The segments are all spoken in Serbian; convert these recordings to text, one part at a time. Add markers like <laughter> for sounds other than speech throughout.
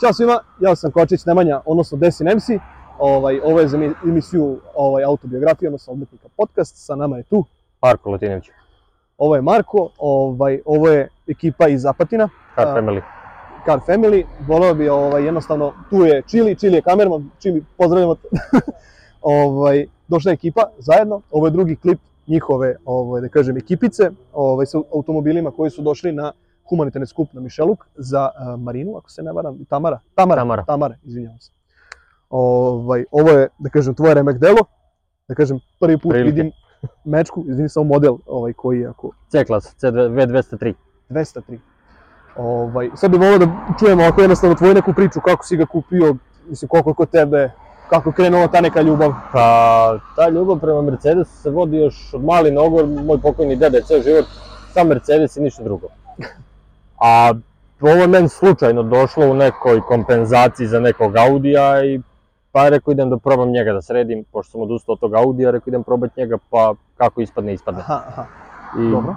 Ćao svima, ja sam Kočić Nemanja, odnosno Desin MC. Ovaj, ovo je za mi- emisiju ovaj, autobiografije, odnosno odmetnika podcast. Sa nama je tu, Marko Latinović, ovo je Marko, ovaj, ovo je ekipa iz Apatina, Car A. Family. Car Family. Voleo bi ovaj, jednostavno, tu je Čili, Čili je kamerman, Čili pozdravljamo. te. <laughs> ovaj, došla je ekipa zajedno, ovo je drugi klip njihove, ovaj, da kažem, ekipice ovaj, sa automobilima koji su došli na humanitarni skup na Mišeluk za eh, Marinu, ako se ne varam, Tamara. Tamara, Tamara. Tamara, izvinjavam se. Ovaj, ovo je, da kažem, tvoje remek delo. Da kažem, prvi put Prilike. vidim mečku, izvini samo model ovaj, koji je, ako C-klas, C203. 203. Ovaj, sad bih volao da čujemo ovako jednostavno tvoju neku priču, kako si ga kupio, mislim, koliko je kod tebe, kako je krenula ta neka ljubav. Pa, ta ljubav prema Mercedesu se vodi još od mali nogu, jer moj pokojni deda je ceo život, sam Mercedes i ništa drugo. A ovo je meni slučajno došlo u nekoj kompenzaciji za nekog Audija i pa rekao idem da probam njega da sredim, pošto sam odustao od tog Audija, rekao idem probat njega, pa kako ispadne, ispadne. Aha, aha, I dobro.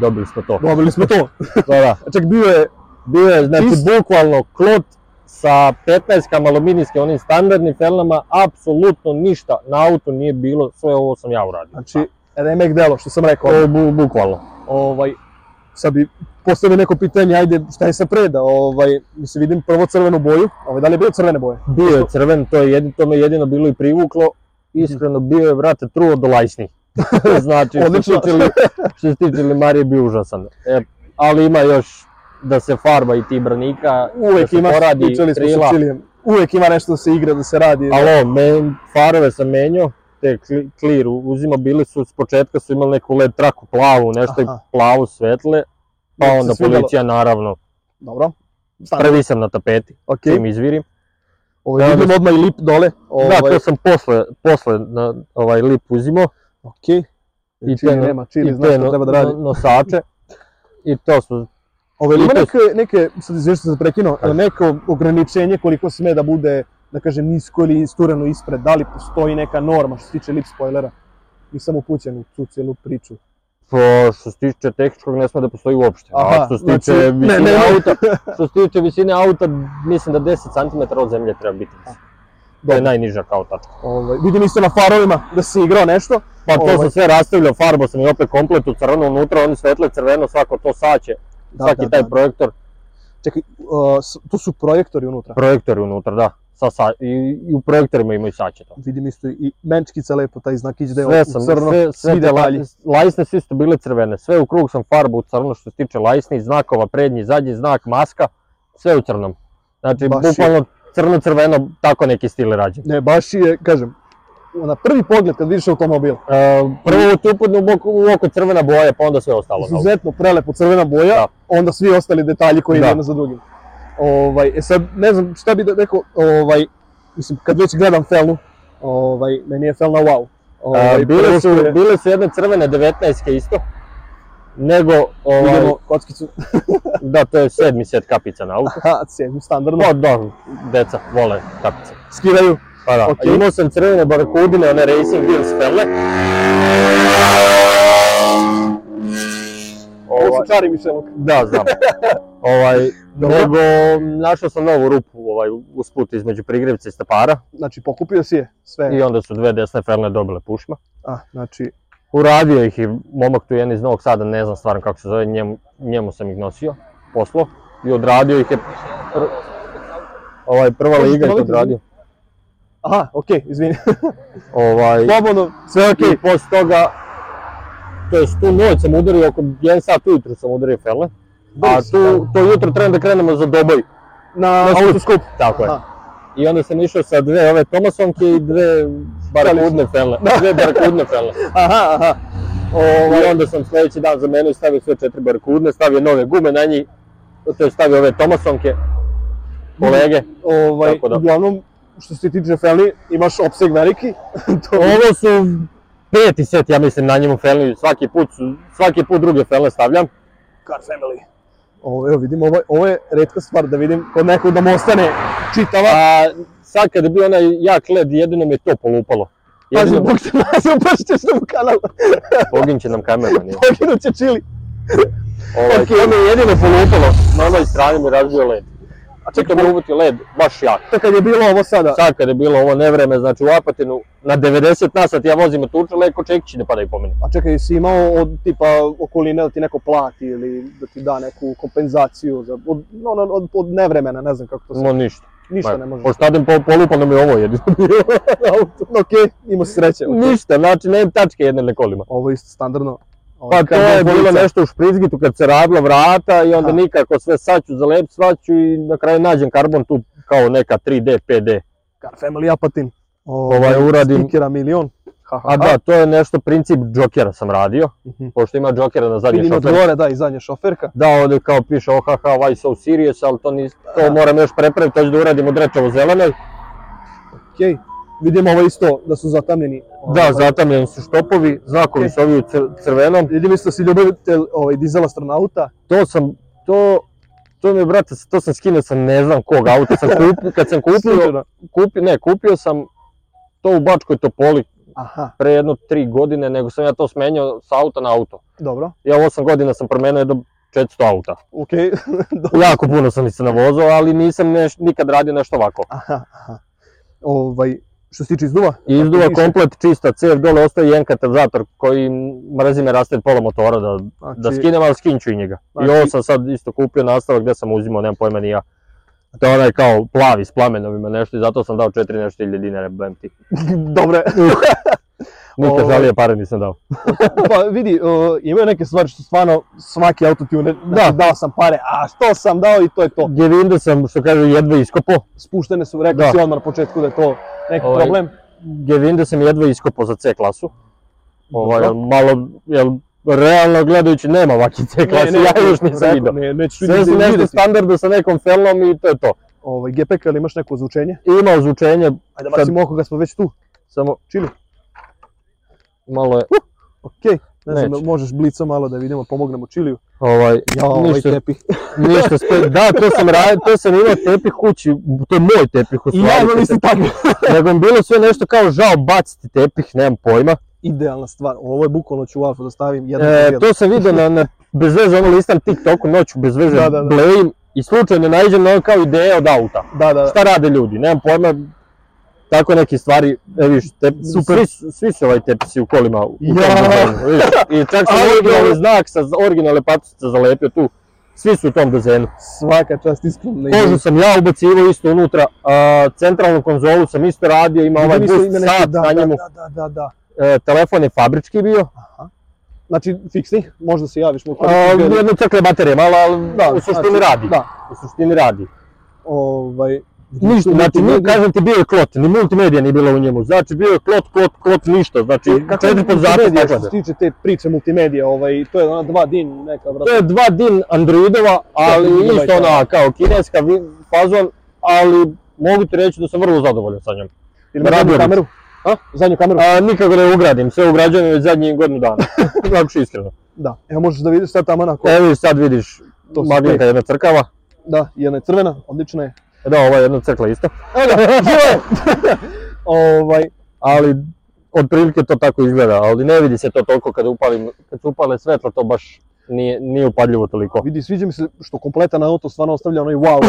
dobili smo to. Dobili smo to. Da, da. Čak bio je, Bio je, znači, Čist. bukvalno klot sa 15-ka malominijske, onim standardnim felnama, apsolutno ništa na autu nije bilo, sve ovo sam ja uradio. znači, remek delo, što sam rekao. to bu, bukvalno. Ovaj, sad bi postavio neko pitanje, ajde, šta je sa preda? Ovaj, mislim, vidim prvo crvenu boju, ovaj, da li je bilo crvene boje? Bio je crven, to, je jedin, to me jedino bilo i privuklo, iskreno bio je, vrate, truo do <laughs> lajsni. znači, što se Odlično. tiče, li- što se tiče Limarije, bio užasan. E, ali ima još da se farba i ti branika, da Uvek se ima, poradi pričali smo krila. sa Čilijem, uvek ima nešto da se igra, da se radi. Alo, men, farove sam menjao, te kli- clear uzima, bili su, s početka su imali neku led traku plavu, nešto i Aha. plavu svetle, pa Nije ti se onda svidelo? policija naravno, Dobro. Stani, prvi sam na tapeti, okej. tim izvirim. Ovaj, Da, da- vidim odmah i lip dole. Ovaj, Da, to sam posle, posle na ovaj lip uzimao, Okej. I I te Čili no- nema, Čili i zna te što no- treba da radi. no- nosače, i to su, Ove, i ima to- neke, neke, sad izviješ što sam prekinuo, Kaži. neko ograničenje koliko sme da bude, da kažem, nisko ili isturano ispred, da li postoji neka norma što se tiče lip spoilera? Nisam upućen u tu cijelu priču. po, što se tiče tehničkog ne sme da postoji uopšte, a što se tiče znači, visine ne, ne, ne. auta, što se tiče visine auta, mislim da 10 cm od zemlje treba biti, to je Dobro. najniža kao tačka. Ovaj, vidim isto na farovima da si igrao nešto. Pa to Ovaj. sam sve rastavljao, farbao sam i opet komplet u crveno unutra, oni svetle crveno, svako to saće, Da, svaki da, taj da. projektor, Čekaj, uh, s- tu su projektori unutra. projektori unutra, da, sa, sa, i, i u projektorima imaju saće to. Vidim isto i menčkica lepo, taj znakić da je Sve u sam, crno, sve, sve svi te detalji. laj- lajsne su isto bile crvene, sve u krug sam farbao u crno što se tiče lajsnih znakova, prednji, zadnji znak, maska, sve u crnom. Znači, Baš je. bukvalno crno-crveno, tako neki stil je rađen. Ne, baš je, kažem, na prvi pogled kad vidiš automobil, E, prvo ti upadne u, boku- u oko crvena boja, pa onda sve ostalo. na autu. izuzetno prelepo crvena boja, Da. onda svi ostali detalji koji Da. da. jedan za drugim. Ovaj, e sad, ne znam šta bi da rekao, ovaj, mislim, kad već gledam Felnu, ovaj, meni je Felna wow. Ovaj, A, prvo bile, Ovaj, su, što je- bile su jedne crvene 19-ke isto, nego, ovaj, Vidimo kockicu, <laughs> da, to je sedmi set kapica na auto. ha, sedmi, standardno, No, da, deca vole kapice. skidaju. Pa da, Okej. imao sam crvene barakudine, one Racing Wheels pele. Ovo Ovaj, su čari Mišelog. da, <laughs> znam. ovaj, Dobro. nego, našao sam novu rupu ovaj, usput između prigrivca i stepara Znači, pokupio si je sve. i onda su dve desne felne dobile pušma. A, znači, Uradio ih i momak tu jedan iz Novog Sada, ne znam stvarno kako se zove, njemu, njemu sam ih nosio, poslo, i odradio ih je, pr- ovaj, prva Možeš liga ih ponoviti, odradio. aha, okej, izvini, Ovaj, <laughs> slobodno, sve okej. I posle toga, to jest tu noć sam udario, oko 1 sat ujutru sam udario fele, a Brzo, tu, Znači- to jutro trebam da krenemo za Doboj. Na na skup. autoskup. Tako je. Aha. I onda sam išao sa dve ove Tomasonke i dve barakudne fele. Da. Dve barakudne fele. <laughs> Aha, aha. Ovaj, I onda sam sledeći dan za menu stavio sve četiri barakudne, stavio nove gume na njih, to je stavio ove Tomasonke, kolege. Ovaj, Tako da. Uglavnom, što se tiče Felni, imaš opseg veliki. <laughs> to Ovo su peti set, ja mislim, na njemu felni, svaki put, su- svaki put druge fele stavljam. Car Family. Ovo, evo vidim, ovo, ovo je redka stvar da vidim kod nekog da mu ostane čitava. A sad kad je bio onaj jak led, jedino mi je to polupalo. Pazi, Jedino, Bog te <laughs> nazva, upašit ćeš nam kanal, pogin će nam kamerman. <laughs> je. poginut će čili. Ovaj, Ok. to mi je jedino polupalo, na onoj strani mi razbio led. A A Pritom čekaj, je uvutio led baš jak. to kad je bilo ovo sada, Sad kad je bilo ovo nevreme, znači u Apatinu, na 90 nasat ja vozim od tuče, leko čekići ne padaju po meni. a čekaj, si imao od tipa okoline da ti neko plati ili da ti da neku kompenzaciju za, od, no, no, od, od nevremena, ne znam kako to se, No ništa. ništa Ma, ne <laughs> možeš. pa, Pošto idem po, polupano mi je ovo jedino <laughs> bilo. Okej, imao si sreće. okej. ništa, znači nemam tačke jedne na kolima. Ovo je isto standardno. Ovo Pa je to kao je bilo dvojica. nešto u Špricgitu kad se radilo vrata i onda Aha. nikako sve saću za lep svaću i na kraju nađem karbon tu kao neka 3D, 5D. Car Family Apatin. Ovaj, uradim- Stikera milion. Ha, ha, A da, to je nešto princip džokera sam radio, Mhm. pošto ima džokera na zadnje Vidim od šofer. gore, da, i zadnja šoferka. Da, ovdje kao piše OHH, why so serious, ali to, nis, Da. to moram još prepraviti, to ću da uradim od rečevo zelenoj. Da, Okej. Vidimo ovo isto, da su zatamljeni. Da, zatamljeni su štopovi, znakovi Ovaj. Ok. su ovi u cr- crvenom. Vidim isto da si ljubitelj ovaj, dizel astronauta. To sam, to, to mi je, brate, to sam skinuo sa ne znam kog auta, sam kup, kad sam kupio, Slučajno. kupi, ne, kupio sam to u Bačkoj Topoli Aha, pre jedno tri godine, nego sam ja to smenjao sa auta na auto. dobro. Ja u osam godina sam promenio jedno 400 auta. Okej. <laughs> dobro. Jako puno sam ih se navozao, ali nisam neš, nikad radio nešto ovako. Aha, aha. Ovaj, što se tiče izduva, I izduva piše. komplet čista cev, dole ostaje jedan katalizator koji mrzi me raste pola motora da, znači, da <laughs> skinem, ali skinću i njega. I Znači- ovo sam sad isto kupio nastavak gde sam uzimao, nemam pojma ni ja. To je onaj kao plavi s plamenovima nešto i zato sam dao četiri nešto ili dinara, blem ti. dobro je. Ništa Ovaj. žalije pare nisam dao. <laughs> pa vidi, o, imaju neke stvari što stvarno svaki autotuner, znači, dao sam pare, a što sam dao i to je to. Gevinde sam, što kažu, jedva iskopao. Spuštene su, rekao Da. si odmah na početku da je to neki Ovaj, problem. Gevinde sam jedva iskopao za C klasu. Ovaj, Dobro. malo, jel, realno gledajući nema ovakve C klase, ja još nisam rekao, vidio. Ne, neću Sve su vidjeti. nešto standardno sa nekom felnom i to je to. Ovaj, GPK ili imaš neko zvučenje? Ima zvučenje, Ajde, Sad- bacimo oko kad smo već tu. samo Čili. malo je, Okej, ne znam, Neće. jel možeš blica malo da vidimo, pomognemo Čiliju. ovaj, Ja, ovaj ništa, tepih. ništa spe... da, to sam radio, to sam imao tepih kući, to je moj tepih u I stvari. ja imam isti tako. <laughs> Nego mi je bilo sve nešto kao žao baciti tepih, nemam pojma. Idealna stvar, ovo je bukvalno ću u alfu da stavim jedan e, E, jedan. to sam vidio na, na bez veze ono listam TikToku noću bez veze Da, da, da. blejim i slučajno naiđem na ono kao ideje od auta. Da, da, da. Šta rade ljudi, nemam pojma. Tako neke stvari, e viš, te, Super. Svi, su- svi su ovaj tepsi u kolima u tom Ja. dizajnu, viš. I čak sam <laughs> Ali dobro. originalni znak sa originalne patice zalepio tu. Svi su u tom dizajnu. Svaka čast iskreno. ne Kožu idem. sam ja ubacivao isto unutra, a, centralnu konzolu sam isto radio, ima ovaj Vidim isto boost ima neki- sat da, na da, njemu, Da, da, da, da. E, telefon je fabrički bio, Znači, fiksni, možda se javiš mu. a, jedno crkle baterije malo, ali Da, u suštini znači, radi, Da, u suštini radi. ovaj... Ništa, znači, mi ni, kažem ti bio je klot, ni multimedija nije bilo u njemu, znači bio je klot, klot, klot, ništa, znači četiri pod zapis multimedija, što se naklade. tiče te priče multimedija, ovaj, to je ona dva din neka vrsta. To je dva din Androidova, ali Četiri da. isto GB, ona kao kineska vi- fazon, ali mogu ti reći da sam vrlo zadovoljan sa njom. Ili imaš zadnju radio bi. kameru? A? Zadnju kameru? A, nikako ne ugradim, sve ugrađujem već zadnjih godinu <laughs> dana, znači iskreno. Da. Evo možeš da vidiš sad tamo onako. Evo i sad vidiš, To su magneta te. jedna crkava, Da, jedna je crvena, odlična je. da ova je jedna crkla isto, <laughs> Evo ga, E, da, živo je! ovaj, ali otprilike to tako izgleda, ali ne vidi se to toliko kad upalim, kad su upale svetla to baš nije, nije upadljivo toliko. vidi, sviđa mi se što kompletan auto stvarno ostavlja onaj wow. <laughs>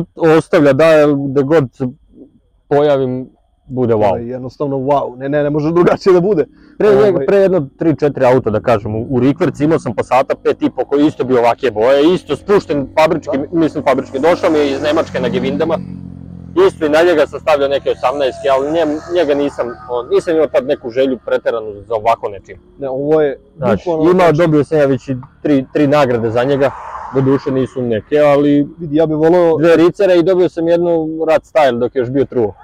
U- ostavlja da jer gde god se pojavim bude Ovaj, wow. jednostavno wow, ne, ne, ne može drugačije da bude. Pre, njega, ovaj. pre jedno 3-4 auta da kažem, u, u Rikverci imao sam Passata 5.5 koji je isto bio ovake boje, isto spušten fabrički, mislim fabrički, došao mi je iz Nemačke na Gevindama, isto i na njega sam stavljao neke 18 ali njem- njega nisam, o, nisam imao tad neku želju preteranu za ovako nečim. Ne, ovo je Znači, bukvalno, imao, dobio sam ja već i tri, tri nagrade za njega, doduše nisu neke, ali vidi, ja bi volio, dve ricere i dobio sam jednu Rad Style dok je još bio truo.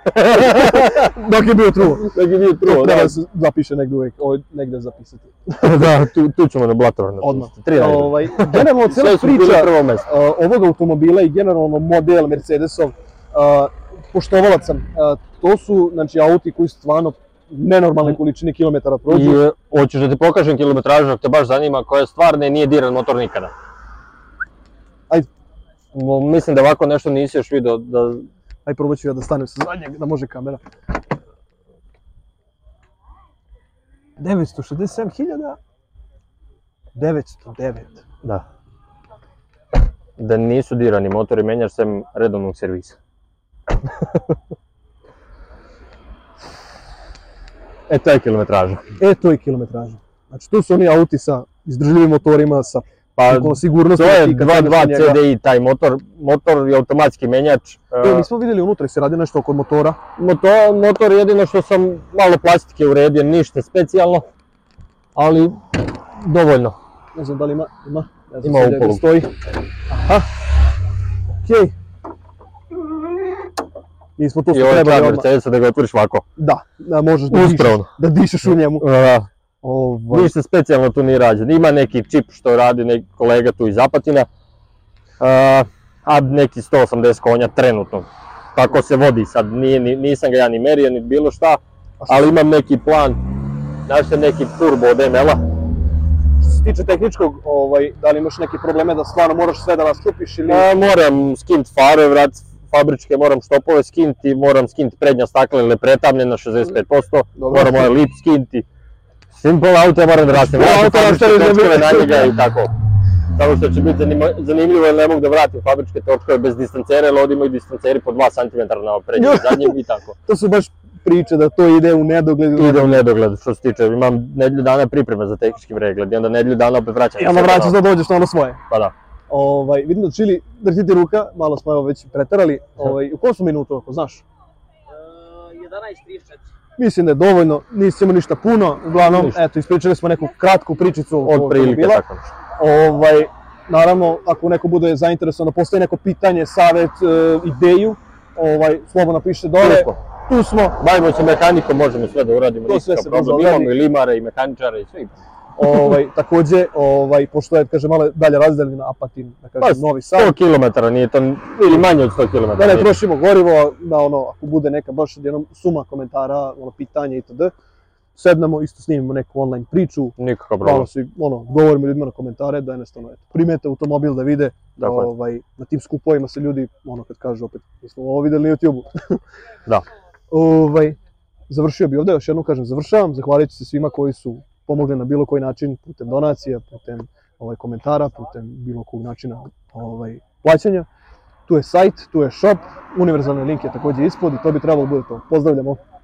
dok je bio truo. <laughs> Dok je bio truo, Treba da. da se zapiše negdje uvijek, ovaj, negdje zapisati. da, tu, tu ćemo na Blatoru napisati. Odmah. Tri nagrade. Ovaj, generalno, <laughs> cijela Sve su bili priča, prvo mesto. a, ovog automobila i generalno model Mercedesov, a, poštovalac sam, a, to su znači, auti koji stvarno nenormalne količine kilometara prođu. Mhm. I e, hoćeš da ti pokažem kilometražu ako te baš zanima koja je stvarna i nije diran motor nikada. Ajde. Mo- Mislim da ovako nešto nisi još vidio da... Aj probat ću ja da stanem sa zadnjeg, da može kamera. 967.909. Da. da nisu dirani motori menjaš sem redovnog servisa. <laughs> e, to je kilometraža. E, to je kilometraža. Znači, tu su oni auti sa izdržljivim motorima, sa Pa, pukom sigurnosti. to je 2.2 CDI, taj motor, motor je automatski menjač. To e, nismo vidjeli unutra, jer se radi nešto oko motora. Motor, motor jedino što sam malo plastike uredio, ništa specijalno, ali dovoljno. Ne znam da li ima, ima, ne znam Ima sad gdje upolu. stoji. Aha, okej. Nismo tu I što ovaj trebali član odmah. Mercedesa da ga otvoriš ovako. Da, da možeš da dišeš, Uspravno. da dišeš u njemu. Da, Ovaj, ništa specijalno tu nije rađeno. Ima neki čip što radi neki kolega tu iz Apatina. A, a neki 180 konja trenutno. Kako se vodi sad, nije, ni- nisam ga ja ni merio, ni bilo šta. Ali imam neki plan. Znaš te, neki turbo od ML-a. što se tiče tehničkog, ovaj, da li imaš neki probleme da stvarno moraš sve da rastupiš ili... Pa, moram skint fare, vrat fabričke, moram štopove skinti, moram skinti prednja stakla ili pretamljena 65%, Dobro. moram ovaj lip skinti. Simple auto ja moram da rastim, Simple ja auto auto fabričke rastavi da bi- točkove na njega i tako. Samo što će biti zanima- zanimljivo jer ne mogu da vratim fabričke točkove bez distancera, jer ovdje imaju distanceri po 2 cm na <laughs> prednjem i zadnjem i tako. To su baš priče da to ide u nedogled. Ide u nedogled što se tiče, imam nedlju dana pripreme za tehnički pregled i onda nedlju dana opet vraćam. I onda sve vraćaš ponovo. da dođeš na ono svoje. Pa da. Ovaj, vidim da čili, drži ti ruka, malo smo evo već preterali. Ovaj, u kojem smo minutu ako znaš? 11.34. Mislim da je dovoljno, nisimo ništa puno, uglavnom, Ništa. eto, ispričali smo neku kratku pričicu oko Od prilike automobila. tako. nešto. Ovaj, naravno, ako neko bude zainteresovan da postavi neko pitanje, savjet, e, ideju, ovaj, slobodno napišite dole. Lijepo. Tu smo, Bavimo se mehanikom, možemo sve da uradimo, To sve nikakav se može problem. uraditi. Imamo i limare i mehaničare i svi. ovaj, takođe, ovaj, pošto je, kaže, malo je dalje razdeljena Apatin, da kažem, Pa, Novi Sad. 100 km, nije to, ili manje od 100 km. da ne trošimo gorivo, da ono, ako bude neka baš jednom suma komentara, ono, pitanje itd. Sednemo, isto snimimo neku online priču, Nikakav problem. malo se, ono, govorimo ljudima na komentare, da jednostavno, eto, primete automobil da vide, da, Tako je. ovaj, na tim skupovima se ljudi, ono, kad kažu opet, mi smo ovo videli na YouTube-u. <laughs> Da. ovaj, završio bi ovde, još jednom kažem, završavam, zahvalit ću se svima koji su pomogli na bilo koji način, putem donacija, putem ovaj, komentara, putem bilo kog načina ovaj, plaćanja. Tu je sajt, tu je shop, univerzalni link je takođe ispod i to bi trebalo da bude to. Pozdravljamo!